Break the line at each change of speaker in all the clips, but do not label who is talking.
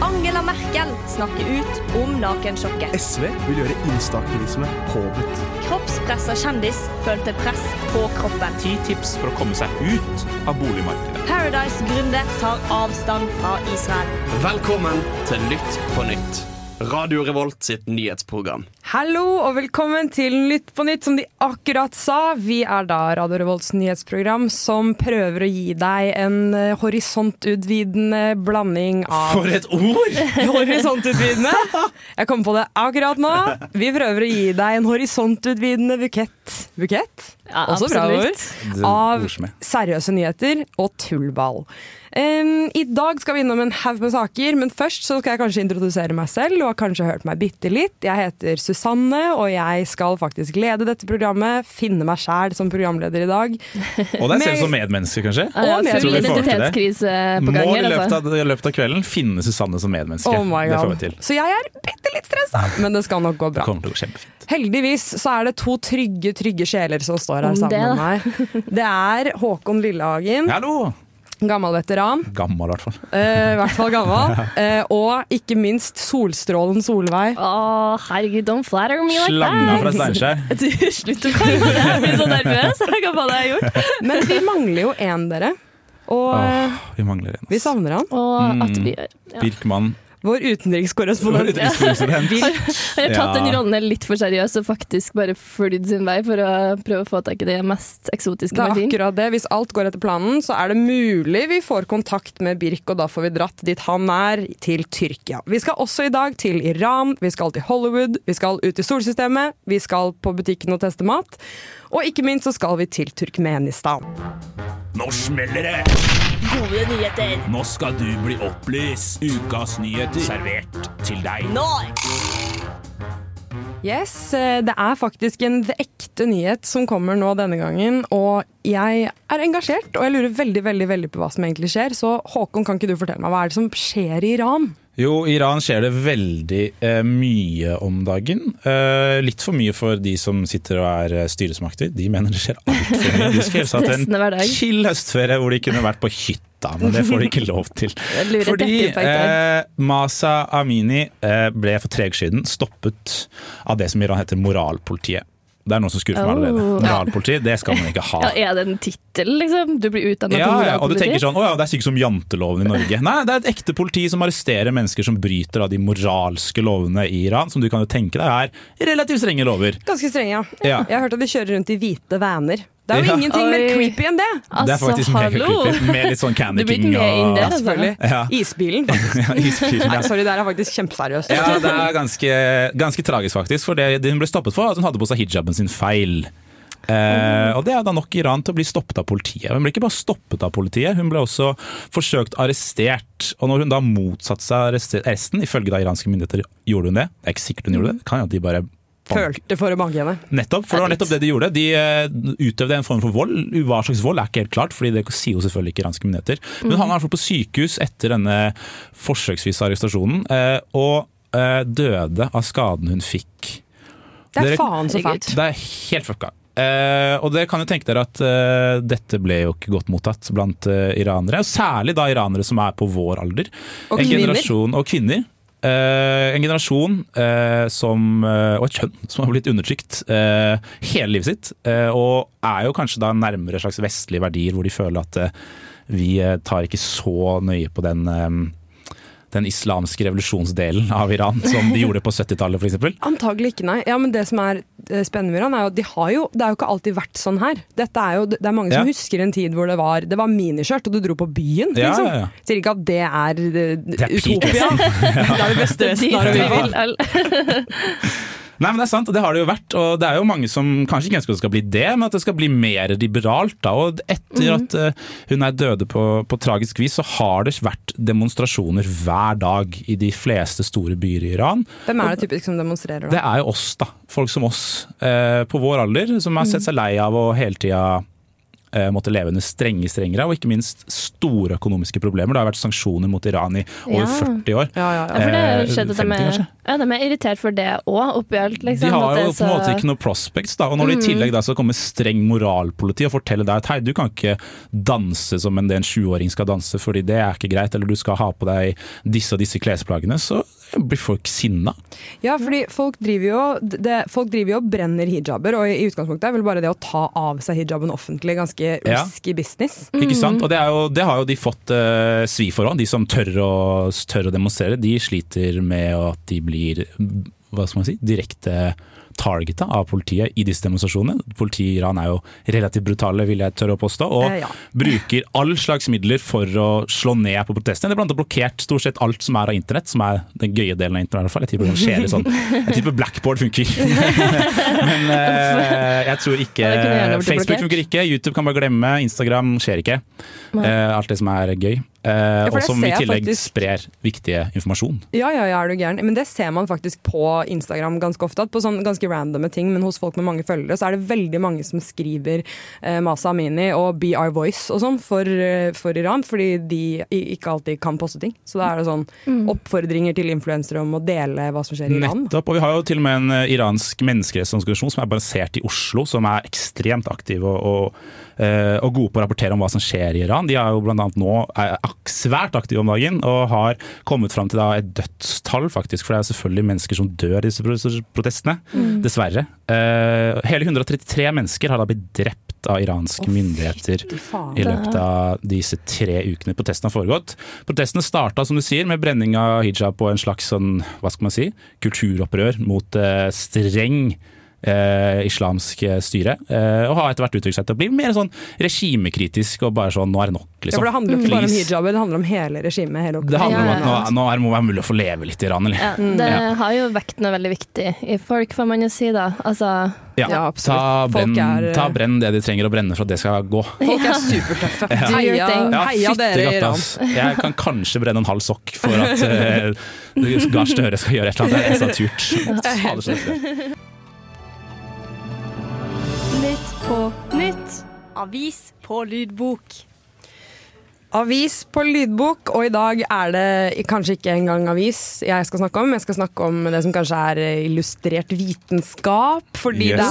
Angela Merkel snakker ut om nakensjokket.
SV vil gjøre instaaktivisme påbudt.
Kroppspressa kjendis følte press på kroppen.
Ti tips for å komme seg ut av boligmarkedet.
Paradise-gründer tar avstand fra Israel.
Velkommen til Lytt på nytt. Radio Revolt sitt nyhetsprogram.
Hallo og velkommen til Nytt på nytt, som de akkurat sa. Vi er da Radio Revolts nyhetsprogram som prøver å gi deg en eh, horisontutvidende blanding av
For et ord!
Horisontutvidende? Jeg kom på det akkurat nå. Vi prøver å gi deg en horisontutvidende bukett. Bukett?
Ja,
Også bra ord.
absolutt.
Det er
Av
ordsmed.
seriøse nyheter og tullball. Em, I dag skal vi innom en haug med saker, men først så skal jeg kanskje introdusere meg selv. Du har kanskje hørt meg bitte litt. Jeg heter Susanne, og jeg skal faktisk lede dette programmet. Finne meg sjæl som programleder i dag.
Og deg selv
Men-
som medmenneske, kanskje?
Og
Ja,
med-
Tror vi
full
får til det?
identitetskrise på gang
Må i
her,
løpet
altså.
av, i løpet av kvelden finne Susanne som medmenneske.
Oh my
Det får
god.
vi til.
Så jeg er bitte litt stressa, men det skal nok gå
Det
bra.
kommer til å gå kjempefint.
Heldigvis så er det to trygge trygge sjeler som står her
Om det,
sammen med meg. Det er Håkon Lillehagen,
Hallo!
gammel veteran.
Gammel, i hvert fall.
eh, I hvert fall gammel. eh, og ikke minst Solstrålen Solveig.
Å, herregud, don't flatter me like
Slanga fra
that.
Steinkjer.
Du, slutt å kalle meg det. Jeg blir så nervøs. Jeg kan hva det jeg har gjort.
Men vi mangler jo én, dere. Og eh,
Åh, vi mangler en.
vi savner han.
Mm.
Og at vi ja.
Birkmann.
Vår utenrikskorrespondent.
Jeg har tatt den
Ja.
rollen her litt for seriøst og faktisk bare flydd sin vei for å prøve å få tak i det mest
Det
eksotiske
er
man finner.
akkurat det. Hvis alt går etter planen, så er det mulig vi får kontakt med Birk, og da får vi dratt dit han er, til Tyrkia. Vi skal også i dag til Iran, vi skal til Hollywood, vi skal ut i solsystemet, vi skal på butikken og teste mat, og ikke minst så skal vi til Turkmenistan.
Nå smeller det!
Gode nyheter
Nå skal du bli opplyst. Ukas nyheter servert til deg.
nå!
Yes, eh, det er faktisk en ekte nyhet som kommer nå denne gangen, og jeg er engasjert, og jeg lurer veldig, veldig, veldig på hva som egentlig skjer, så Håkon, kan ikke du fortelle meg hva er det som skjer i Iran?
Jo, i Iran skjer det veldig eh, mye om dagen. Eh, litt for mye for de som sitter og er eh, styresmakter. De mener det skjer altfor mye. De skulle helst hatt
Stressende
en
hverdag.
chill høstferie hvor de kunne vært på hytta, men det får de ikke lov til.
Jeg lurer
Fordi
dette på en gang.
eh, Masa Amini eh, ble for tre uker siden stoppet av det som i Iran heter moralpolitiet. Det er noen som skuffer meg allerede.
Oh.
Moralpoliti, det skal man ikke ha.
Ja, er det en tittel, liksom? Du blir utdannet
Ja,
til
ja, og du tenker
moralpoliti?
sånn, «Å ja, Det er sikkert som janteloven i Norge. Nei, det er et ekte politi som arresterer mennesker som bryter av de moralske lovene i Iran, som du kan jo tenke deg er relativt strenge lover.
Ganske streng, ja.
Ja.
Jeg har hørt at de kjører rundt i hvite vaner. Det er jo
Ja.
ingenting mer
Oi.
creepy enn det!
sånn, det
Altså,
er faktisk mer creepy, med litt sånn
Du
Candy
blir
King
ikke med inn
og
der, selvfølgelig.
ja,
Isbilen, faktisk.
ja, isfyr,
Nei,
ja.
sorry, det her er faktisk kjempeseriøst.
ja, det er ganske, ganske tragisk, faktisk. For det, det hun ble stoppet for, var at hun hadde på seg hijaben sin feil. Eh, og Det er da nok i Iran til å bli stoppet av politiet. Hun ble ikke bare stoppet av politiet, hun ble også forsøkt arrestert. Og når hun da motsatte seg arreste- arresten, ifølge da iranske myndigheter, gjorde hun det. Det er ikke sikkert hun gjorde det. det kan jo at de bare
Følte for å banke henne.
Nettopp, for det var nettopp det de gjorde. De eh, utøvde en form for vold. Hva slags vold er ikke helt klart, fordi det sier jo selvfølgelig ikke iranske myndigheter. Men han er i hvert fall på sykehus etter denne forsøksvise arrestasjonen, eh, og eh, døde av skaden hun fikk.
Det er
Dere-
faen så fælt.
Det er helt fucka. Eh, og dere kan jo tenke dere at eh, dette ble jo ikke godt mottatt blant eh, iranere. Og særlig da iranere som er på vår alder.
Og
en
kvinner.
generasjon, og kvinner. Eh, en generasjon eh, som, eh, og et kjønn som har blitt undertrykt eh, hele livet sitt. eh, og er jo kanskje da nærmere slags vestlige verdier, hvor de føler at eh, vi eh, tar ikke så nøye på den eh, den islamske revolusjonsdelen av Iran, som de gjorde på 70-tallet f.eks.
Antagelig ikke, nei. Ja, men det som er eh, spennende med Iran, er jo at de har jo, det er jo ikke alltid vært sånn her. Dette er jo, det er mange som
Ja.
husker en tid hvor det var, det var miniskjørt, og du dro på byen,
Ja,
liksom.
ja, ja.
Sier ikke at det er, eh,
er peak liksom.
utopia. det er det beste
Dit
resten av
vi
Europa.
vil. Al-
Nei, men Det er sant, og det har det jo vært. og Det er jo mange som kanskje ikke ønsker at det skal bli det, men at det skal bli mer liberalt. da, og Etter at eh, hun er døde på, på tragisk vis, så har det vært demonstrasjoner hver dag i de fleste store byer i Iran.
Hvem er det typisk som demonstrerer
Det
da?
er jo oss, da. Folk som oss eh, på vår alder, som har sett seg lei av å hele tida eh, måtte leve under strenge strengere, og ikke minst store økonomiske problemer. Det har vært sanksjoner mot Iran i over
Ja.
40 år.
Ja, ja,
Ja, for det har jo
Eh,
skjedd at de
50
er,
kanskje?
ja, de er irritert for det òg, oppi alt. Liksom,
De
at
har
det er
jo på en
så- Mm.
måte ikke noe prospects, da. Og når det i tillegg da skal komme streng moralpoliti og fortelle deg at hei, du kan ikke danse som en det en 20-åring skal danse, fordi det er ikke greit, eller du skal ha på deg disse og disse klesplaggene, så blir folk sinna.
Ja, fordi folk driver jo det, Folk driver jo og brenner hijaber, og i utgangspunktet er vel bare det å ta av seg hijaben offentlig ganske
Ja.
risky business.
Ikke sant? Og det, er jo, det har jo de fått eh, svi for òg. De som tør å, tør å demonstrere, de sliter med at de blir hva skal man si, direkte targeta av politiet i disse demonstrasjonene. Politiet i Iran er jo relativt brutale, vil jeg tørre å påstå. Og
Eh, ja.
bruker all slags midler for å slå ned på protestene. Det er blant annet blokkert stort sett alt som er av internett, som er den gøye delen av internett i hvert fall. Jeg tipper det skjer i sånn. Jeg tipper blackboard funker. Men eh, jeg tror ikke
Ja, det kunne gjerne blitt
Facebook
blokkert.
funker ikke, YouTube kan bare glemme, Instagram skjer ikke. Eh, alt det som er gøy. Eh,
for
og
det
som i
ser jeg
tillegg
faktisk.
sprer viktig informasjon.
Ja, ja, ja, er du gæren. Men det ser man faktisk på Instagram ganske ofte. At på sånn ganske randome ting, men hos folk med mange følgere, så er det veldig mange som skriver eh, Masa Amini og Be Our Voice og sånn for, eh, for Iran, fordi de i- ikke alltid kan poste ting. Så da er det sånn oppfordringer til influensere om å dele hva som skjer i Iran.
Nettopp. Og vi har jo til og med en eh, iransk menneskerettsorganisasjon som er basert i Oslo, som er ekstremt aktiv og, og, eh, og gode på å rapportere om hva som skjer i Iran. De er jo blant annet nå er ak- svært aktive om dagen og har kommet fram til da et dødstall, faktisk. For det er jo selvfølgelig mennesker som dør i disse pro- protestene, dessverre. Eh, hele 133 mennesker har da blitt drept av iranske myndigheter
Fy faen.
i løpet av disse tre ukene protestene har foregått. Protestene starta som du sier, med brenning av hijab og en slags sånn, hva skal man si, kulturopprør mot eh, streng eh, islamsk eh, styre. Eh, og har etter hvert utviklet seg til å bli mer sånn regimekritisk og bare sånn nå er det nok,
Ja,
liksom.
for det handler jo ikke bare om
Please.
hijaber, det handler om hele regimet. Hele
Det handler om
Ja,
at nå,
ja,
nå er, må det være mulig å få leve litt i Iran, eller?
Ja, det har jo vekt noe veldig viktig i folk, får man jo si, da. Altså,
Ja,
Ja,
ta,
absolutt. Folk
brenn,
er- eh,
ta brenn det de trenger å brenne for at det skal gå.
Folk er supertøffe.
Do your
Heia,
thing.
heia dere i
fyttegatt,
Iran.
ass. Jeg kan kanskje brenne en halv sokk for at eh, Gahr Støre skal gjøre et eller annet. Det er så turt. Fader, så turt.
Nytt på nytt. Avis på lydbok.
Avis på lydbok, og i dag er det kanskje ikke engang avis jeg skal snakke om. Jeg skal snakke om det som kanskje er illustrert vitenskap, fordi
Yes.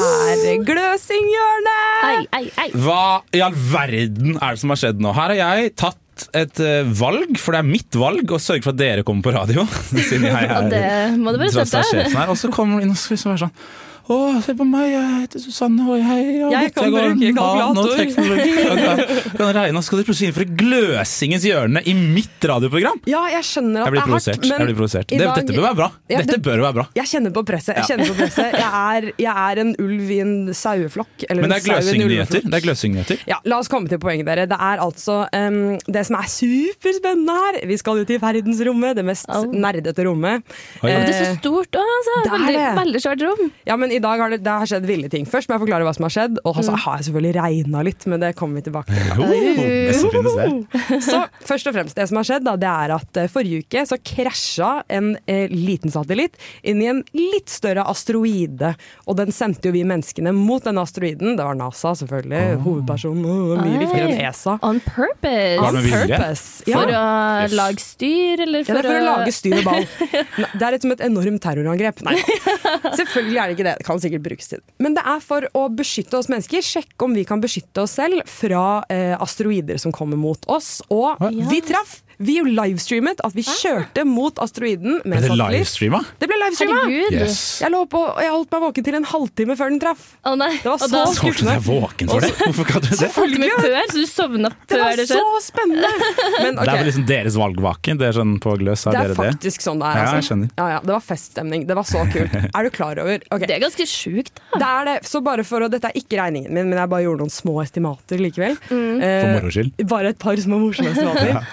det er Gløsinghjørnet!
ei, ei, ei.
Hva i all verden er det som har skjedd nå? Her har jeg tatt et eh, valg, for det er mitt valg å sørge for at dere kommer på radio. Siden jeg
Og det
er
må du bare
tross alt
støtte.
sjefen her. Og så kommer hun inn og skal liksom være sånn Å, se på meg, jeg heter Susanne, og jeg, jeg,
Jeg kan bruke kalkulator.»
Kan regne, og så skal dere plutselig innføre Gløsingens hjørne i mitt radioprogram.
Ja, jeg skjønner at
Jeg blir
det er hardt,
provosert. Jeg
men
blir provosert.
i
Det,
dag-
dette bør være bra.
Ja,
Dette
det-
bør være bra.
Jeg kjenner på presset. Jeg,
Ja.
kjenner på presset. Jeg, er, jeg er en ulv i en saueflokk. eller
Men det
en
er
sau i en ulveflokk.
gløsingnyheter. Det er gløsingnyheter.
Ja, La oss komme til poenget, dere. Det er altså em, det som er superspennende her. Vi skal ut i verdensrommet, det mest
Au.
nerdete rommet.
Oi.
Og det er så stort òg, altså.
Det er
Veldig,
det.
veldig svært rom.
Ja, men i dag har det, det har skjedd ville ting. Først må jeg forklare hva som har skjedd, og
Mm.
så har jeg selvfølgelig regna litt, men det kommer vi tilbake til.
Oh, det som finnes der.
Så først og fremst, det som har skjedd, da, det er at eh, forrige uke så krasja en eh, liten satellitt inn i en litt større asteroide, og den sendte jo vi menneskene mot denne asteroiden. Det var NASA, selvfølgelig.
Ah.
Hovedpersonen. Åh, mye viktigere enn E
Ei.
ESA.
On purpose.
Var det med vilje?
Purpose. Ja.
For å lage styr, eller
Ja,
for,
det er for å lage styr og ball. Nei, Det er liksom et, som et enormt terrorangrep. Nei, selvfølgelig er det ikke det. Det kan sikkert brukes til det. Men det er for å beskytte oss mennesker. Sjekke om vi kan beskytte oss selv fra eh, asteroider som kommer mot oss. Og vi traff! Vi jo livestreamet at vi
Ah.
kjørte mot
Er
asteroiden med
det
satellitt.
livestreama?
Det ble livestreama!
Herregud.
Yes.
Jeg lå oppe og jeg holdt meg våken til en halvtime før den traff.
Å nei.
Det var
og da
så-
Så du deg våken for det? Hvorfor kan du det?
holdt du med før, så du sovna
Det
før
var
det
så
skjedde.
spennende! Men,
Det er vel
ok.
liksom deres valgvake? Det er sånn på gløs,
Det
har
er
dere det?
faktisk sånn det er.
Ja, jeg
Altså.
skjønner.
Ja, ja, det var feststemning. Det var så kult. Er du klar over Ok.
Det er ganske sjukt, da.
Det er det. Så bare for å, Dette er ikke regningen min, men jeg bare gjorde noen små estimater likevel. Eh,
For moro skyld.
bare et par små morsomme estimater.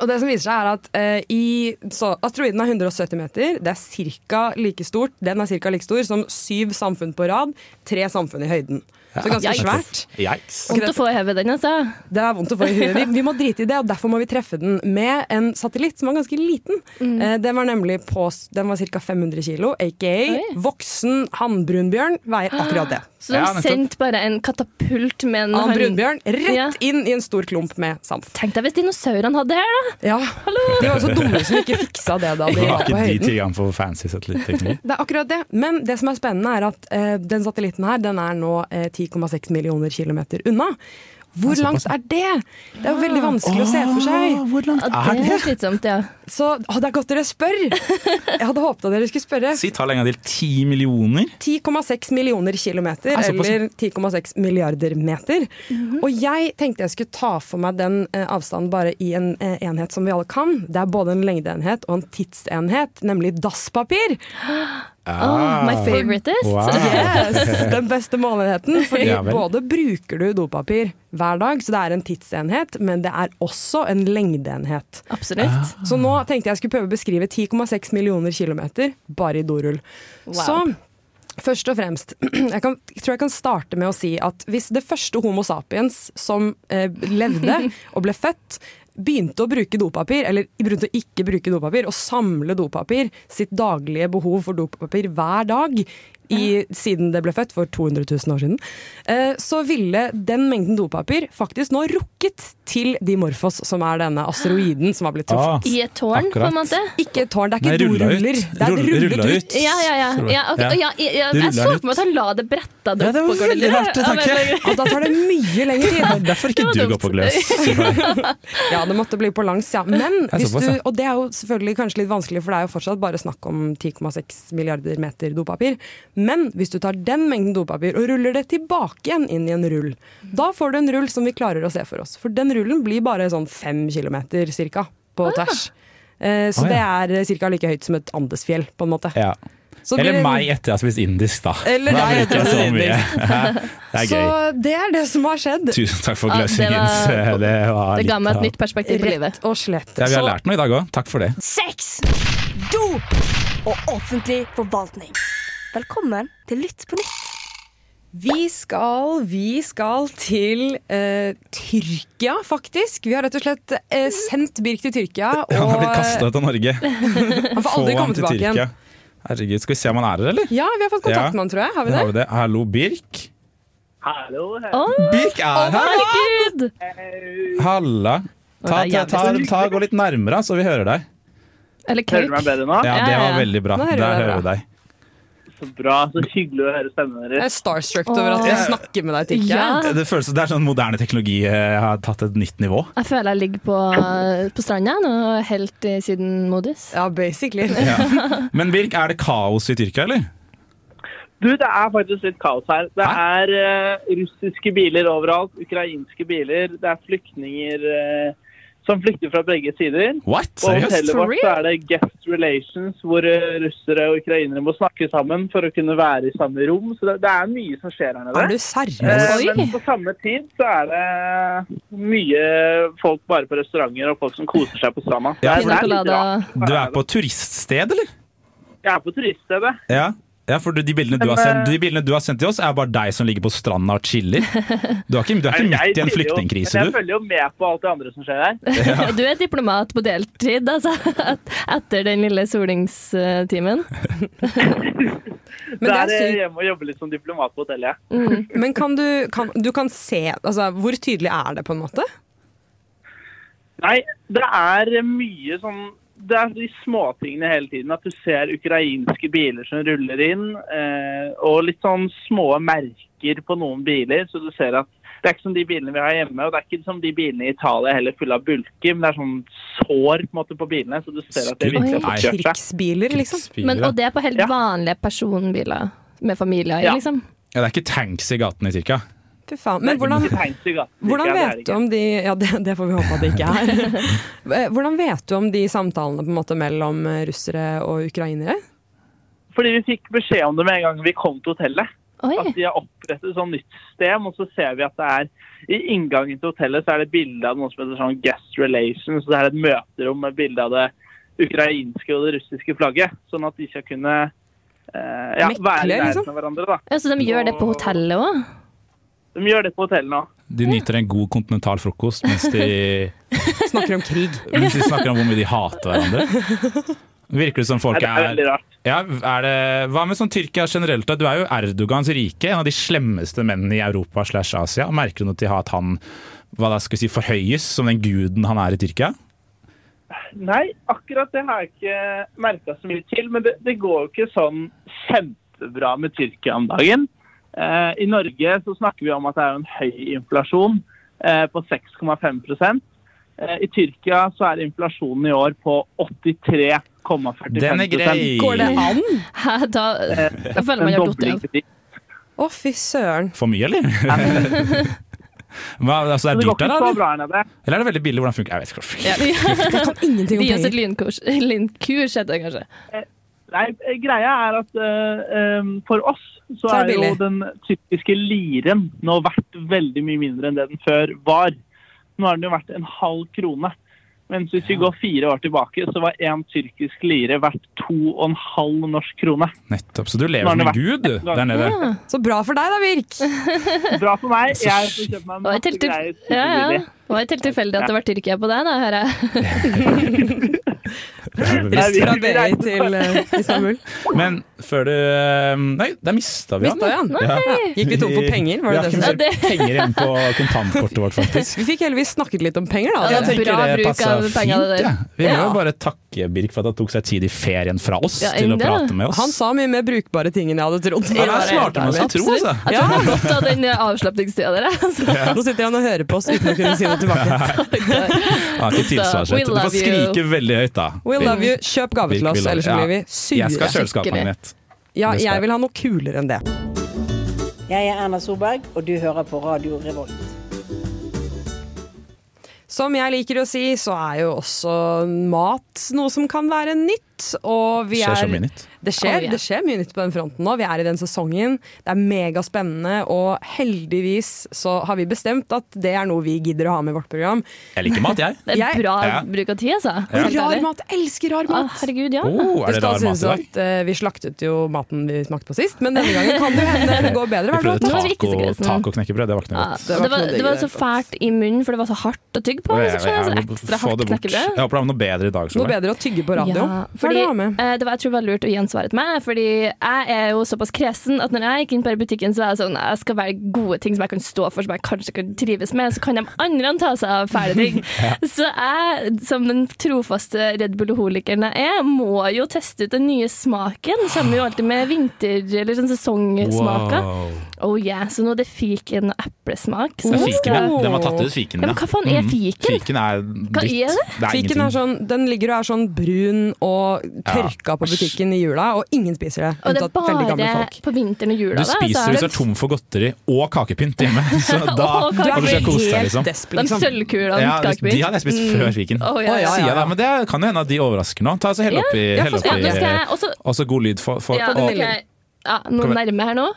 Og det som viser seg er at eh, i, så, Asteroiden er 170 meter. Det er cirka like stort, Den er ca. like stor som syv samfunn på rad. Tre samfunn i høyden. Så ganske
Yikes.
svært.
Yikes.
Vondt å få i hodet den, altså.
Det er vondt å få i huet. Vi, vi må drite i det, og derfor må vi treffe den med en satellitt som var ganske liten. Eh, den var nemlig på s- Den var ca. 500 kilo, aka
Oi.
voksen hannbrunbjørn veier akkurat det.
Så de
Ja, nettopp.
sendte bare en katapult med en
Annen
han-
brunbjørn rett
Ja.
inn i en stor klump med sand.
Tenk deg hvis dinosaurene hadde det her, da!
Ja, De var jo så dumme som ikke fiksa det da de
Var
var
ikke
på
de
høyden.
tilgang for fancy satellitteknologi?
Det er akkurat det. Men det som er spennende er at eh, den satellitten her den er nå eh, 10,6 millioner kilometer unna. Hvor langt er det? Det er jo veldig vanskelig å se for seg.
hvor langt
Ja, det er slitsomt, ja.
Så å, det er godt dere spør! Jeg hadde håpet at dere skulle spørre.
Si ta lenge til. Ti millioner?
10,6 millioner kilometer,
Er såpass, ja.
eller 10,6 milliarder meter.
Mhm.
Og jeg tenkte jeg skulle ta for meg den eh, avstanden bare i en eh, enhet som vi alle kan. Det er både en lengdeenhet og en tidsenhet, nemlig dasspapir.
Oh, my favoritist.
Wow.
Yes, Den beste måleenheten. Fordi
Ah. Ja vel.
både bruker du dopapir hver dag, så det er en tidsenhet, men det er også en lengdeenhet.
Absolutt.
Så nå tenkte jeg skulle prøve å beskrive 10,6 millioner kilometer bare i dorull. Så først og fremst, jeg, kan, jeg tror jeg kan starte med å si at hvis det første Homo sapiens som eh, levde og ble født, begynte å bruke dopapir, eller begynte å ikke bruke dopapir, og samle dopapir, sitt daglige behov for dopapir hver dag, i, siden det ble født for 200 000 år siden, eh, så ville den mengden dopapir faktisk nå rukket til Dimorphos, som er denne asteroiden som har blitt truffet.
Ah,
I et tårn, på en måte.
Ikke et tårn, det
Nei,
er ikke
rulla ut.
doruller. Det er
Rull-
rullet
rulla
ut.
ut.
Ja, ja, ja. ja, ok,
Ja.
ja, ja, ja.
Du
Jeg
ruller den
så for meg at han la det bretta det
Ja,
opp.
det var
og går
veldig
ned.
rart, det
Ja,
tenker jeg.
veldig-
Og da tar det mye lengre tid.
Derfor ikke
Det var
du
dumt.
går på gløs.
Ja, det måtte bli på langs, ja. Men
er
hvis
såpass,
du,
ja.
og det er jo selvfølgelig kanskje litt vanskelig, for det er jo fortsatt bare snakk om 10,6 milliarder meter dopapir. Men hvis du tar den mengden dopapir og ruller det tilbake igjen inn i en rull, da får du en rull som vi klarer å se for oss. For den rullen blir bare sånn fem kilometer cirka på tvers. Eh,
Å,
Så
ja.
det er ca. like høyt som et Andesfjell, på en måte.
Ja.
Så
Eller
blir-
meg etter jeg har spist indisk, da.
Eller
Da
deg
bruker
etter
jeg så
jeg
mye. Det er
Så
gøy.
det er det som har skjedd.
Tusen takk for
Ja, det
gløsningens.
var-
Det var
Det ga
litt
meg et
av-
nytt perspektiv på livet.
Rett og slett.
ja, Vi har
Så-
lært noe i dag òg. Takk for det.
sex, dop og offentlig forvaltning. Velkommen til Lytt på nytt.
Vi skal, vi skal til eh, Tyrkia, faktisk. Vi har rett og slett eh, sendt Birk til Tyrkia. Og eh,
Han har blitt kasta ut av Norge.
han får aldri
Få han
komme
til
tilbake igjen.
Tyrkia. Herregud, Skal vi se om han er her, eller?
Ja, vi har fått kontakt
Ja.
med han, tror jeg. Har vi
Der
det?
har vi det. Hallo, Birk.
Å,
Birk er her!
herregud!
Halla. Ta,
det
ta,
er
ta, ta, gå litt nærmere, så vi hører deg.
Eller kauk.
bedre nå?
Ja,
Ja,
det
ja,
var
ja.
veldig bra.
Nå hører vi
Der
deg
hører vi
bra.
deg.
Så bra. Så hyggelig å høre stemmen
Jeg
deres.
er starstruck over at vi
Åh.
snakker med deg i Tyrkia.
Ja.
Det føles som det er sånn moderne teknologi eh, har tatt et nytt nivå.
Jeg føler jeg ligger på, på stranda nå, helt eh, siden Modis.
Ja, basically.
Men Birk, er det kaos i Tyrkia, eller?
Du, det er faktisk litt kaos her. Det er eh, russiske biler overalt, ukrainske biler, det er flyktninger eh, som flykter fra begge sider.
What?
På
Seriøst?
hotellet
For
vårt så er det guest relations, hvor eh, russere og ukrainere må snakke sammen for å kunne være i samme rom. Så det, det er mye som skjer her nede.
Er du
Eh,
seriøs?
Oi.
men på samme tid så er det mye folk bare på restauranter og folk som koser seg på stranda.
Ja,
Det er- det
Pina
er litt
colada.
rart.
Du er på turiststed, eller?
Jeg er på turiststedet.
Ja. ja for du- de bildene, du har sendt, de bildene du har sendt til oss, er bare deg som ligger på stranda og chiller. Du er ikke, du er ikke midt
Jeg
i en
følger jo-
flyktningkrise,
Jeg
du.
følger jo med på alt det andre som skjer her.
Du er diplomat på deltid, altså. et- Etter den lille solingstimen.
Men det er
det er
sykt.
hjemme og jobber litt som diplomat på hotellet. jeg.
Men kan du, kan, du kan se altså, Hvor tydelig er det, på en måte?
Nei, det er mye sånn det er de småtingene hele tiden. At du ser ukrainske biler som ruller inn. Eh, og litt sånn små merker på noen biler. Så du ser at det er ikke som de bilene vi har hjemme. Og det er ikke som de bilene i Italia heller fulle av bulker. Men det er sånn sår på, en måte, på bilene. Så du ser at det
Skudd.
virkelig har fått
Oi.
kjørt seg.
Krigsbiler, liksom?
Men, og
Ja,
det er på helt
Ja.
vanlige personbiler med familier,
Ja.
liksom.
det er ikke tanks i gatene i Tyrkia.
Fy faen. Men hvordan,
Ikke tegn til gaten,
Hvordan
ikke, det er
vet
det
du
ikke.
om de Ja, det, det får vi håpe at det ikke er. Eh, Hvordan vet du om de samtalene på en måte mellom eh, russere og ukrainere?
Fordi vi fikk beskjed om det med en gang vi kom til hotellet. At
Oi.
de har opprettet et sånt nytt system, og så ser vi at det er i inngangen til hotellet så er det bilde av noe som heter sånn guest relations. Så det er et møterom med bilde av det ukrainske og det russiske flagget. Sånn at de skal kunne eh, ja,
Mekle,
være i
liksom?
Altså,
nærheten av hverandre. da.
Ja, så de gjør det på hotellet òg?
De gjør det på hotellene òg.
De nyter en god kontinental frokost mens de,
Snakker om krig.
mens de snakker om hvor mye de hater hverandre. Virker det som folk
Det er
er
veldig rart.
ja, er det, Hva med sånn Tyrkia generelt? da? Du er jo Erdogans rike, en av de slemmeste mennene i Europa slash Asia. Merker du noe til at han hva da skal vi si, forhøyes som den guden han er i Tyrkia?
Nei, akkurat det har jeg ikke merka så mye til. Men det, det går jo ikke sånn kjempebra med Tyrkia om dagen. Eh, I Norge så snakker vi om at det er en høy inflasjon eh, på 6,5 eh, I Tyrkia så er inflasjonen i år på 83,45
Den er grei!
Går det an?
Hæ, da Jeg føler man
Eh, En
har datt
dobling
av.
til de.
Å, fy søren.
For mye, eller? Hva, altså,
Men
er det
Det går
dyrt
ikke
der,
så
eller?
bra her nede.
Eller er det veldig billig? Hvordan funker Jeg vet ikke. hvordan det funker.
Jeg kan ingenting om
Gi oss et
penger.
lynkurs. Lynkurs heter det kanskje.
Nei, greia er at eh, em, for oss så,
Så er
er,
det
jo
billig.
den tyrkiske liren nå verdt veldig mye mindre enn det den før var. Nå har den jo vært en halv krone. Mens hvis vi går fire år tilbake, så var én tyrkisk lire verdt to og en halv norsk krone.
Nettopp. Så du lever
Nå har
som
det
en gud du, der nede.
Så bra for deg da, Birk.
Bra for meg. Jeg får kjøpt
Det
meg
var
masse
helt til-
greier.
Ja, ja.
superbillig.
Det var helt tilfeldig at det var Tyrkia på deg, da, hører jeg.
Nei, vi-
Fra
vi
BI
reiser-
til eh, Istanbul.
Men før du eh, Nei, der mista vi
Mista vi han?
Ja.
Gikk vi tom for penger? Var det
vi
det som
har
skjedde?
ikke mer penger igjen på kontantkortet vårt, faktisk.
Vi fikk heldigvis snakket litt om penger, da.
Jeg
Ja,
dere.
tenker
Bra
det
bruk
passer
av
fint.
pengene der.
Ja. Vi må jo
Ja.
bare takke Birk for at han tok seg tid i ferien fra oss
Ja,
til å
endelig.
prate med oss.
Han sa mye mer brukbare ting enn jeg hadde trodd.
Han er smartere enn man skulle tro. Altså.
Jeg tror det var godt av den eh, avslapningstida der. Altså.
Nå sitter han og hører på oss uten å kunne si noe tilbake.
Han har ikke tilsvarsrett.
We
Du får
love you.
skrike veldig høyt, da.
We
Birk.
love you. Kjøp gave
Birk,
til
we
oss,
love
ellers
you.
så
Ja.
blir vi
Jeg skal ha
sure.
kjøleskapsmagnet.
Ja,
det skal jeg.
jeg vil ha noe kulere enn det.
Jeg er Erna Solberg, og du hører på Radio Revolt.
Som jeg liker å si, så er jo også mat noe som kan være nytt. Og vi
Skjer så
er-
mye nytt.
Det skjer,
Oh, ja.
det skjer mye nytt på den fronten nå. Vi er i den sesongen. Det er megaspennende, og heldigvis så har vi bestemt at det er noe vi gidder å ha med i vårt program.
Jeg liker mat, jeg.
Det er
Jeg-
bra
Ja.
bruk av tid, altså. Helt
Rar
ærlig.
mat! Jeg elsker rar
Å,
mat!
herregud, ja.
Oh,
Det
er det
skal
rar mat
synes
i dag?
at eh, Vi slaktet jo maten vi smakte på sist, men denne gangen kan det jo hende det går
Vi
bedre. hva
prøvde
er det for noe?
Det var
taco,
virkelig grisen.
tacoknekkebrød, det var ikke noe
Ja,
godt.
det, var, det, var,
noe digg
så
der.
fælt i munnen, for det var så hardt å tygge
Jeg-
på. Så
jeg-
skjønner jeg,
jeg
så
må
ekstra
få
hardt
det bort. Jeg
knekkebrød.
håper det er noe bedre i dag.
Noe
Solveig.
bedre å tygge på radio.
Ja,
Hva er det
fordi,
du har med?
eh, det var, jeg tror det var lurt å gjensvare til meg, fordi jeg er jo såpass kresen at når jeg gikk inn på butikken, så var jeg sånn jeg skal velge gode ting som jeg kan stå for, som jeg kanskje kan trives med, så kan de andre ta seg av fæle ting. Så jeg, som den trofaste Red Bull-holikeren jeg er, må jo teste ut den nye smaken. Kommer jo alltid med vinter- eller sånn sesongsmaker.
Wow.
Oh yeah, så nå er det fiken og eplesmak. Så
Det er
nå
fiken,
skal-
ja. Den var tatt ut, fiken.
Ja, men
ja.
hva faen er
Mm.
fiken?
Fiken er
Hva
dritt.
er det?
Det er
Fiken er
ingenting.
sånn, den ligger og er sånn brun og tørka på butikken i jula, og ingen spiser det.
Og det
Unntatt veldig
er
gamle
bare
folk.
på vinteren og jula.
Du
da, så
spiser hvis du er tom for godteri og kakepynt hjemme. Så da,
Og kakepynt.
da skal du ikke kose deg, liksom.
desp,
De
liksom.
sølvkulene
Ja,
ja,
de de hadde jeg spist før fiken.
Å, ja,
Å, ja,
Sier jeg da, Men det kan jo hende at de overrasker nå. Ta så Hell
Mm. Ja,
oppi.
ja,
hell
for-
oppi.
nå skal jeg også
Og så god lyd for, for
ja,
og,
ok. ja, Noe
Kom igjen.
nærme her nå.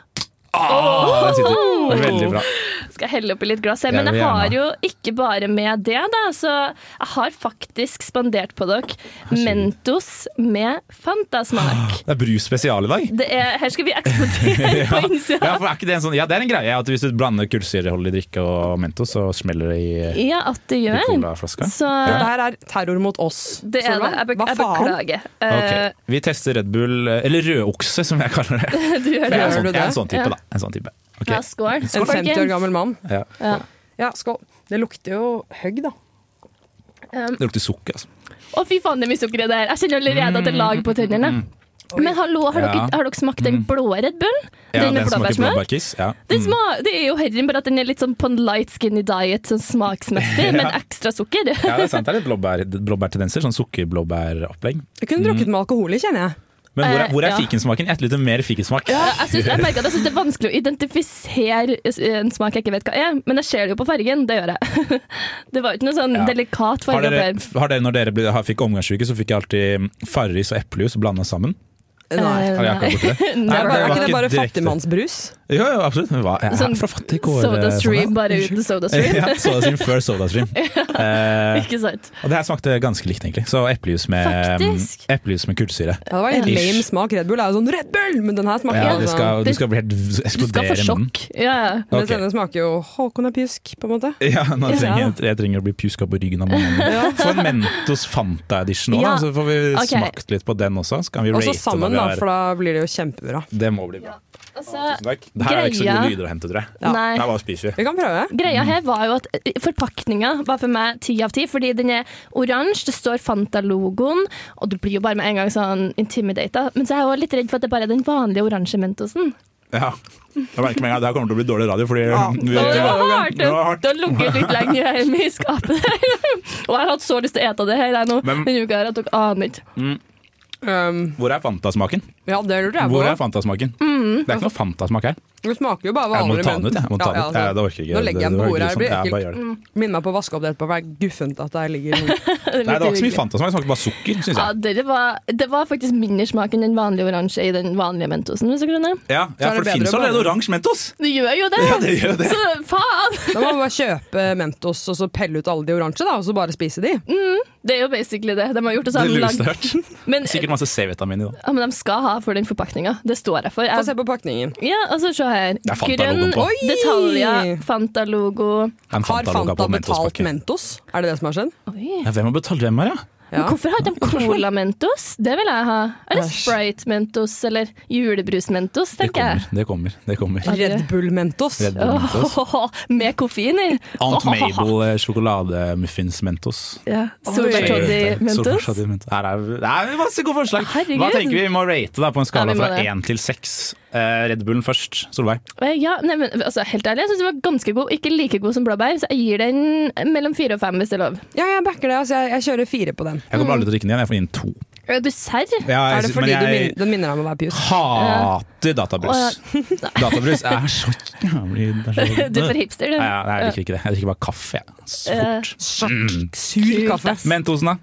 ah, den sitter. Veldig bra.
Skal jeg helle oppi litt glass her.
Jeg
Men
vil
jeg
gjerne.
har jo ikke bare med det, da. Så jeg har faktisk spandert på dere Mentos med Fantasmak.
Det er brus spesial i dag.
Det er, her skal vi eksplodere på innsida.
Ja, for er ikke det, en sånn, ja, det er en greie at hvis du blander kullsyreholdig drikke og Mentos, så smeller det i, eh,
Ja, at det
i
gjør.
colaflaska.
Så
Dette her er terror mot oss.
det er det.
Solveig.
Jeg, bek
Hva
jeg
faen?
beklager.
Ok,
Eh,
Vi tester Red Bull, eh, eller rødokse som jeg kaller det.
du
For jeg er
gjør
en
Gjør
det.
sånn,
du
jeg er en
det?
sånn type,
Ja.
da. En sånn type. Ok.
Ja, skål.
En 50 år
folkens.
gammel mann.
Ja.
Ja, skål. Det lukter jo høgg, da.
Det lukter sukker, altså.
Å, fy faen, det er mye sukker i det her. Jeg kjenner allerede at det er lag på tennene. Men hallo,
Mm.
har,
Ja. Mm.
dere, har dere smakt den blå Red Bullen?
Ja,
den med
den smaker
blåbærsmak?
blåbærkiss. Ja. Mm.
Den sma, det er jo herren, bare at den er litt sånn på en light skinny diet, sånn smaksmessig, men ekstra sukker.
ja, det er sant. Det er litt blåbær, blåbærtendenser. Sånn sukkerblåbæropplegg.
Jeg kunne drukket med alkohol i, kjenner jeg.
Men hvor er, hvor er
Eh, ja.
fikensmaken? Jeg etterlyser mer fikensmak.
Ja, jeg, synes, jeg merker at jeg synes det er vanskelig å identifisere en smak jeg ikke vet hva er, men jeg ser det jo på fargen, det gjør jeg. Det var jo ikke noe sånn
Ja.
delikat
Har
farge
dere,
oppi her.
har dere, når dere ble, har, fikk omgangssyke, så fikk jeg alltid Farris og eplejus blanda sammen?
Nei.
Eh,
Har dere akkurat gjort det?
Never.
Er
var
ikke det bare
direkte.
fattigmannsbrus?
Jo, jo, absolutt. Men hva er
Sånn
fra fattig kår?
Sodastream, bare uten Sodastream.
ja, sodastream før sodastream. Eh,
Ikke sant?
og det her smakte ganske likt, egentlig. Så eplejus med, mm,
Faktisk.
eplejus med kullsyre.
Ja, det var litt
Ja.
lame smak. Red Bull er jo sånn Red Bull! Men den her smaker
Ja,
jo
det
sånn-
skal, du
Det-
skal bli helt v-
Du skal
eksplodere
få
i munnen.
sjokk. Ja, ja.
Mens
Ok.
denne smaker jo Håkon er pjusk, på en måte.
Ja, nå trenger
Ja.
jeg, jeg trenger å bli pjuska på ryggen av mannen. Få en Mentos Fanta Edition òg,
Ja,
så får vi
ok.
smakt litt på den også. Så kan vi
Og så
rate
sammen,
når vi
da,
har-
for da blir det jo kjempebra.
Det må bli bra.
Altså,
Tusen takk. Det her er ikke så
greia-
gode lyder å hente, tror jeg.
Nei.
Her bare spiser vi.
Vi kan prøve.
Mm.
Greia her var jo at forpakninga var for meg ti av ti, fordi den er oransje, det står Fanta-logoen, og du blir jo bare med en gang sånn intimidata. Men så er jeg jo litt redd for at det bare er den vanlige oransje Mentosen.
Ja. Jeg merker med en gang, Det her kommer til å bli dårlig radio, fordi vi,
Og det var hardt!
Det var hardt.
Det har ligget litt lenger hjemme i skapet der. Og jeg har hatt så lyst til å ete det her jeg nå
Men-
denne uka her at dere aner ikke.
Um,
Hvor er Fanta-smaken?
ja, det lurer jeg på.
Hvor er Fanta-smaken? Det er ikke noe Fanta-smak her.
Det smaker jo bare
Jeg må
vanlig
ta den ut, jeg. jeg. Må ta den ut.
altså,
Jeg, det orker jeg ikke.
Nå legger
Det-
jeg den
det
på
var
bordet her, det
grusomt. Jeg
blir
bare gjør det.
ekkelt. Mm, Minn meg på å vaske opp det etterpå, for det er guffent at det her ligger
Nei, det var ikke så mye liksom. Fanta-smak, det smakte bare sukker, syns
Ja,
jeg.
det, var, det var faktisk mindre smak enn den vanlige oransje i den vanlige Mentosen. Hvis dere skjønner.
Ja, ja,
er
for det
det
finnes
bedre å
allerede
bare-
oransje Mentos!
Det gjør jo det!
Ja, det gjør det.
Så faen!
Da må man bare kjøpe Mentos og så pelle ut alle de oransje, da, og så bare spise de.
Mm.
Det er jo basically det de har gjort. og så har
Det
de
lureste jeg har
lagd-
hørt.
Men,
Sikkert masse C-vitamin i det.
ja, men de skal ha for den forpakninga. Det står jeg for.
Få se
Jeg,
på pakningen.
ja, altså, se her.
er Fanta-logoen på.
Oi!
detaljer, Fanta-logo.
En
Har
Fanta-logo
Fanta
på
betalt
Mentos-pakke.
Mentos? Er det det som har skjedd?
Oi.
Ja, hvem har betalt hvem her, ja?
Ja.
Men hvorfor har de Cola Mentos? Det vil jeg ha. Eller
Æsj.
Sprite Mentos, eller Julebrus Mentos,
Det
tenker jeg.
kommer, det kommer. det kommer
Red Bull Mentos.
Red Bull Mentos.
Åhåhå, med koffein i.
Aunt Mabel eh, sjokolademuffins Mentos.
Ja. Solbærtoddy Mentos.
Solbærtoddy Mentos. Her er det er masse gode forslag.
Herregud.
Hva tenker vi vi må rate da på en skala
Ja, vi må
fra
det.
én til seks? Eh, Red Bullen først. Solveig.
Eh, Ja, nei, men, altså, helt ærlig, jeg syns den var ganske god. Ikke like god som blåbær, så jeg gir den mellom fire og fem, hvis det er lov.
Ja, jeg backer det. Altså, jeg, jeg kjører fire på den.
Jeg
Mm.
kommer aldri til å drikke den igjen. Jeg får inn to.
Eh, Du serr?
Ja, jeg
Er det
sy-
fordi
men
du
jeg
min, den minner deg om å være pjus?
hater databrus. Databrus er så jævlig det er så-
Du er for hipster,
Nei,
du.
ja, nei, jeg liker ikke det. Jeg drikker bare kaffe. jeg. Så fort.
Sur kaffe.
Mentosen, da?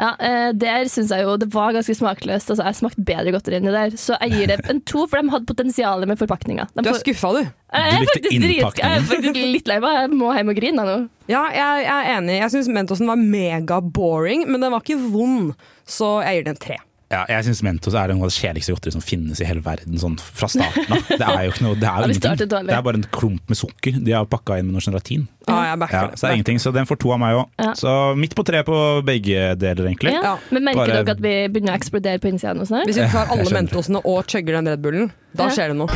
Ja, eh, Der syns jeg jo det var ganske smakløst. Altså, Jeg smakte bedre godteri enn det der. Så jeg gir det en to, for de hadde potensial med forpakninga. De
Du er
får-
skuffa, du.
Jeg
Du
er
likte
faktisk drit-
innpakningen.
jeg er faktisk litt lei meg. Jeg må hjem og grine jeg, nå.
Ja, jeg, jeg er enig. Jeg syns Mentosen var mega-boring, men den var ikke vond, så jeg gir den en tre.
Ja, jeg syns Mentos er noe av det kjedeligste godteriet som finnes i hele verden. Sånn fra starten av. Det er jo ikke noe, det er
Ja,
jo
vi
ingenting.
startet dårlig.
Det er bare en klump med sukker de har pakka inn med noe sånn gelatin.
Ja, jeg backer
Ja,
det.
så det er ingenting, så den får to av meg òg.
Ja.
Så midt på tre på begge deler, egentlig.
Ja.
Ja,
Men merker
bare-
dere at vi begynner å eksplodere på sånn innsida nå snart?
Hvis vi tar alle
skjønner.
Mentosene og chugger den Red Bullen, da
Ja.
skjer det noe.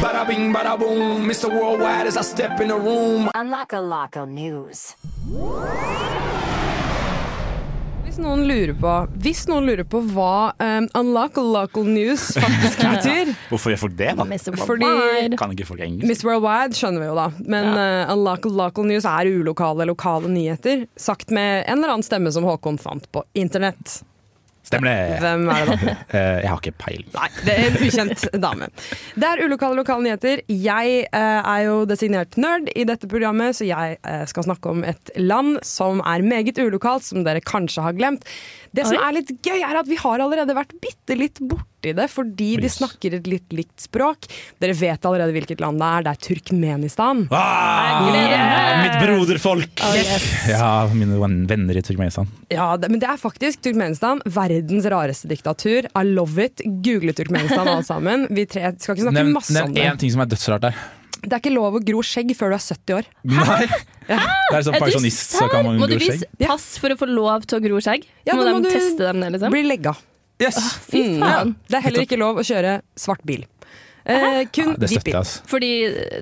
Hvis noen lurer på, hvis noen lurer på hva um, Unlocal Local News faktisk betyr
Hvorfor gjør folk det, da?
Mr.
Fordi-
Worldwide.
Kan ikke folk engelsk?
Miss Worldwide skjønner vi jo, da. Men eh, Unlocal Local News er ulokale, lokale nyheter. Sagt med en eller annen stemme som Håkon fant på internett.
Stemmer det?
Hvem er det da?
Eh, jeg har ikke peiling.
Nei, det er en ukjent dame. Det er ulokale lokale nyheter. Jeg eh, er jo designert nerd i dette programmet, så jeg eh, skal snakke om et land som er meget ulokalt, som dere kanskje har glemt. Det som
Oi.
er litt gøy, er at vi har allerede vært bitte litt borti det, fordi de
Yes.
snakker et litt likt språk. Dere vet allerede hvilket land det er. Det er Turkmenistan.
Ah, mitt broderfolk!
Oh,
Ja, mine venner i Turkmenistan.
Ja, det, men det er faktisk Turkmenistan. Verdens rareste diktatur. I love it. Google Turkmenistan, alle sammen. Vi tre skal ikke snakke
Nevn
masse om
nevn
det.
én ting som er dødsrart der.
Det er ikke lov å gro skjegg før du er 70 år.
Nei!
Ah,
Det er sånn pensjonist, så kan man
Må du
unngå skjegg.
vise pass for å få lov til å gro skjegg?
Ja,
må
da
de
må du-
teste dem ned, liksom?
Blir legga.
Yes!
Fy
Mm, ja.
faen.
Det er heller ikke lov å kjøre svart bil. Eh, kun
Det støtter
hvit
jeg,
bil.
altså.
Fordi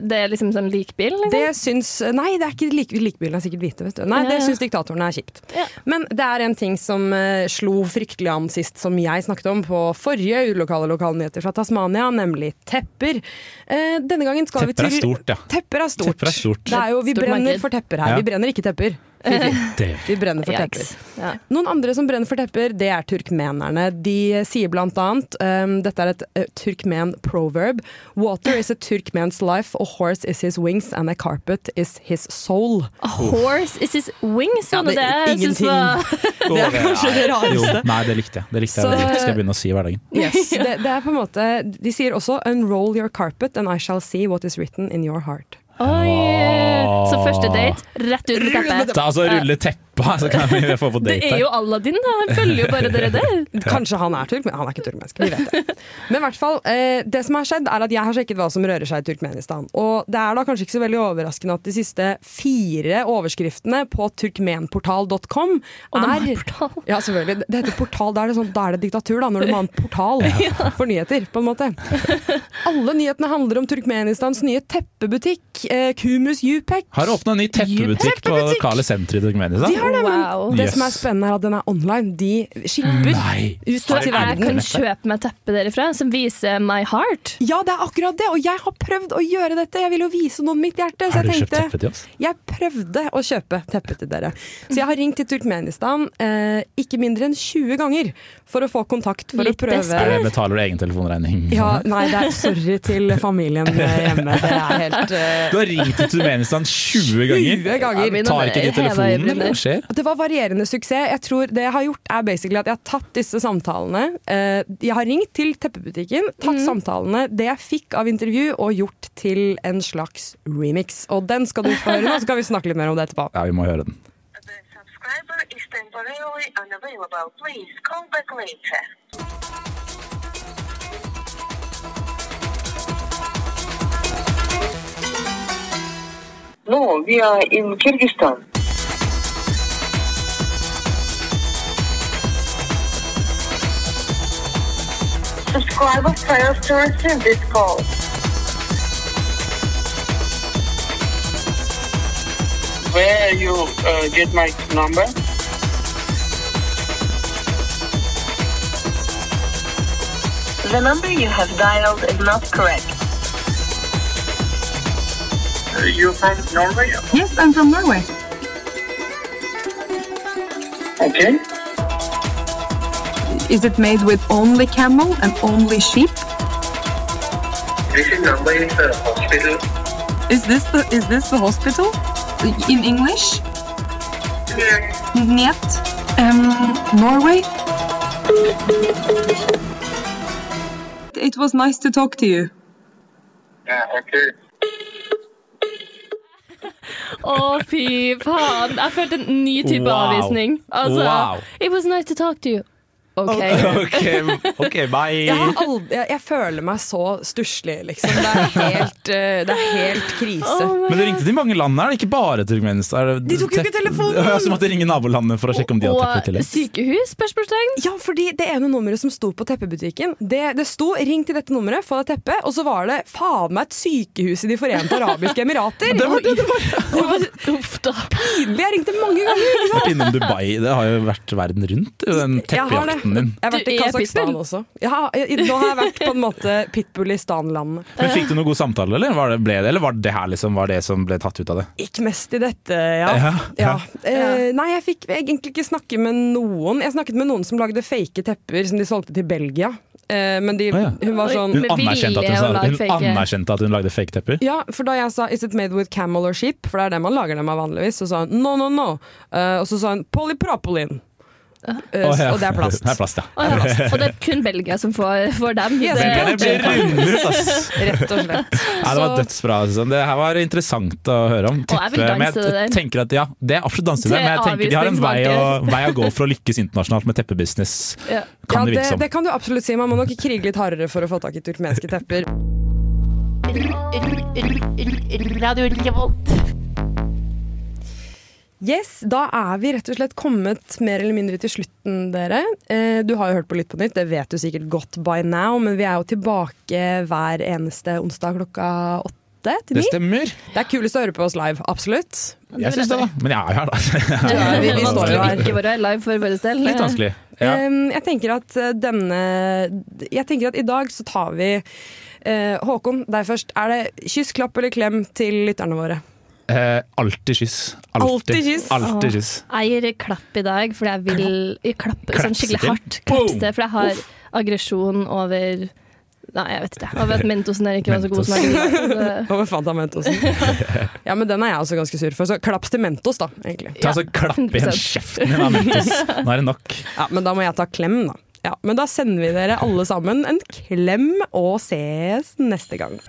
det er liksom sånn likbil? Liksom?
Det syns Nei, det er ikke like, likebilen er sikkert hvite, vet du. Nei,
Ja,
det
ja.
syns diktatoren er kjipt.
Ja.
Men det er en ting som eh, slo fryktelig an sist, som jeg snakket om på forrige ulokale lokalnyheter fra Tasmania, nemlig tepper. Eh, denne gangen skal
Tepper er
vi til
stort, ja.
Tepper er stort.
Tepper er stort.
Det er jo, vi
Stort
brenner
marked.
for tepper her.
Ja.
Vi brenner ikke tepper. Fy, fy.
Det-
Vi brenner for tepper.
Yikes. Ja.
Noen andre som brenner for tepper, det er turkmenerne. De sier blant annet um, Dette er et uh, turkmen proverb. Water is a Turkmen's life, a horse is his wings, and a carpet is his soul.
A horse is his wings, var det
det
det
er
jeg synes var
Jo, Det er
kanskje det rareste.
Jo, nei, det likte jeg. Det likte jeg.
Så-
Det skal jeg begynne å si i hverdagen.
Yes, det, det er på en måte De sier også 'unroll your carpet and I shall see what is written in your heart'.
Oi! Så første date, rett ut med teppet.
Da, altså, rulle teppa, så kan vi få på
Det
date.
er jo Aladdin, da. Han følger jo bare dere der.
Kanskje han er turkmen, han er ikke turkmensk, vi vet det. Men i hvert fall, eh, det som har skjedd er at jeg har sjekket hva som rører seg i Turkmenistan. Og det er da kanskje ikke så veldig overraskende at de siste fire overskriftene på turkmenportal.com
Og
er
det er portal.
ja, selvfølgelig. Det heter portal. Da er det, sånn, da er det diktatur, da, når du må ha en portal for nyheter, på en måte. Alle nyhetene handler om Turkmenistans nye teppebutikk, eh, Kumus Yupek.
Har åpna en ny teppebutikk på
Teppebutikk!
lokale senter i
De
Turkmenistan.
har det,
Wow.
men det som er
Yes.
spennende, er at den er online. De skipper
Nei.
ut
Så
til
jeg
verden.
kan kjøpe meg teppet derifra som viser My Heart.
Ja, det er akkurat det, og jeg har prøvd å gjøre dette. Jeg vil jo vise noen mitt hjerte. Så
Har du
jeg
kjøpt
tenkte,
teppe til oss?
Jeg prøvde å kjøpe teppe til dere. Så jeg har ringt til Turkmenistan eh, ikke mindre enn 20 ganger for å få kontakt for
Litt
å prøve
Er det betaler du egen telefonregning?
Ja, nei, det er sorry til familien hjemme. Det er helt eh,
Du har ringt til Turkmenistan 20 ganger!
20 ganger.
men-
Tar ikke de
Heva
telefonen,
øyebrynene.
eller hva skjer?
Det var varierende suksess. Jeg tror det jeg har gjort er basically at jeg har tatt disse samtalene. eh, Jeg har ringt til teppebutikken, tatt
Mhm.
samtalene, det jeg fikk av intervju, og gjort til en slags remix. Og den skal du få høre nå, så kan vi snakke litt mer om det etterpå.
Ja, vi må høre den.
The subscriber is temporarily unavailable. Please call back later. No, we are in Kyrgyzstan. Subscriber fails to receive this call. Where you uh, get my number? The number you have dialed is not correct. you Uh, from Norway? Yes, I'm from Norway. Okay. Is it made with only camel and only sheep? This is number is a hospital. Is this the is this the hospital? In English? Нет. Um, Norway? It was nice to talk to you. Yeah, okay.
Å, fy faen. Jeg følte en ny type
Wow.
avvisning. Altså,
Wow.
It was nice to talk to you. OK.
Ok, ok,
Jeg,
bye!
har aldri, jeg, jeg føler meg så stusslig, liksom. Det er helt, eh, det er helt krise.
Oh my
Men du
God.
ringte til mange land her, ikke bare Turkmenistan. Er det-
De tok jo ikke
tepp-
telefonen!
Ja, Så måtte jeg ringe nabolandene for å sjekke om de hadde teppe til
Og
det.
sykehus? Spørsmålstegn.
Ja, fordi Det ene nummeret som sto på teppebutikken, det, det sto 'ring til dette nummeret, få deg teppe', og så var det faen meg et sykehus i De forente arabiske emirater!
Det var det det var!
Uff da.
Jeg ringte mange ganger!
Vært innom Dubai. Det har jo vært verden rundt, jo, den
Jeg har det.
teppejakten din.
Jeg har vært
Du
i
er
Kasakhstan
pitbull.
også. Ja, jeg, i- nå har jeg vært på en måte pitbull i Stan-landene.
Men Fikk du noen god samtale, eller var det, ble det, eller var det her liksom, var det som ble tatt ut av det?
Ikke mest i dette, ja.
Ja, ja.
Eh, nei, jeg fikk egentlig ikke snakke med noen. Jeg snakket med noen som lagde fake tepper som de solgte til Belgia. Eh, men de,
Å, ja.
hun var sånn
Hun
Med vilje
anerkjente at hun,
å
sa-
lage fake-
hun, anerkjente at hun lagde fake tepper.
Ja, for da jeg sa 'Is it made with camel or sheep?', for det er det man lager dem av vanligvis, så sa hun 'no, no, no'. Eh, og så sa hun 'polypropylene'.
Ah.
Eh,
Å, ja.
Og det er plast.
Det er plast, ja.
Og, ja, og det er kun Belgia som får, får dem.
Yes,
Det-
Belgia.
Det blir rundlurt, ass.
Rett og slett.
Nei, det var
Så-
dødsbra. Susanne. Det her var interessant å høre om.
Å, jeg vil
Teppe,
danse
men jeg
til det der.
tenker at ja, det er absolutt danse til det,
Til
men jeg tenker de har en vei å,
avvisningsvalget.
vei å gå for å lykkes internasjonalt med teppebusiness,
Ja.
kan det
ja,
virke
det,
som.
det kan du absolutt si. Man må nok krige litt hardere for å få tak i turkmenske tepper.
Radio Revolt.
Yes, Da er vi rett og slett kommet mer eller mindre til slutten, dere. Eh, Du har jo hørt på Lytt på nytt, det vet du sikkert godt by now, men vi er jo tilbake hver eneste onsdag klokka åtte til
Det
ni.
stemmer.
Det er kulest å høre på oss live, absolutt.
Jeg syns det, da. Men jeg er jo her, da.
Du er- vi- vi står jo her.
Vanskelig å ikke være live for vår del.
Litt vanskelig. Ja.
Em, Jeg tenker at eh, denne Jeg tenker at i dag så tar vi eh, Håkon, deg først. Er det kyss, klapp eller klem til lytterne våre?
Eh, alltid kyss.
Alltid kyss.
Alltid kyss.
Jeg gir klapp i dag, fordi jeg vil jeg klappe sånn
Klapse
skikkelig
til.
hardt. Klapse
Boom!
til, for jeg har aggresjon over Nei, jeg vet ikke. Over at Mentosen her ikke var så god eh, som jeg ville.
Over Fanta Mentosen. Ja, men den er jeg også ganske sur for, så klaps til Mentos, da, egentlig.
Ta så klapp igjen
100%.
kjeften din, da, Mentos. Nå er det nok.
Ja, men da må jeg ta klem, da. Ja, men da sender vi dere alle sammen en klem, og ses neste gang.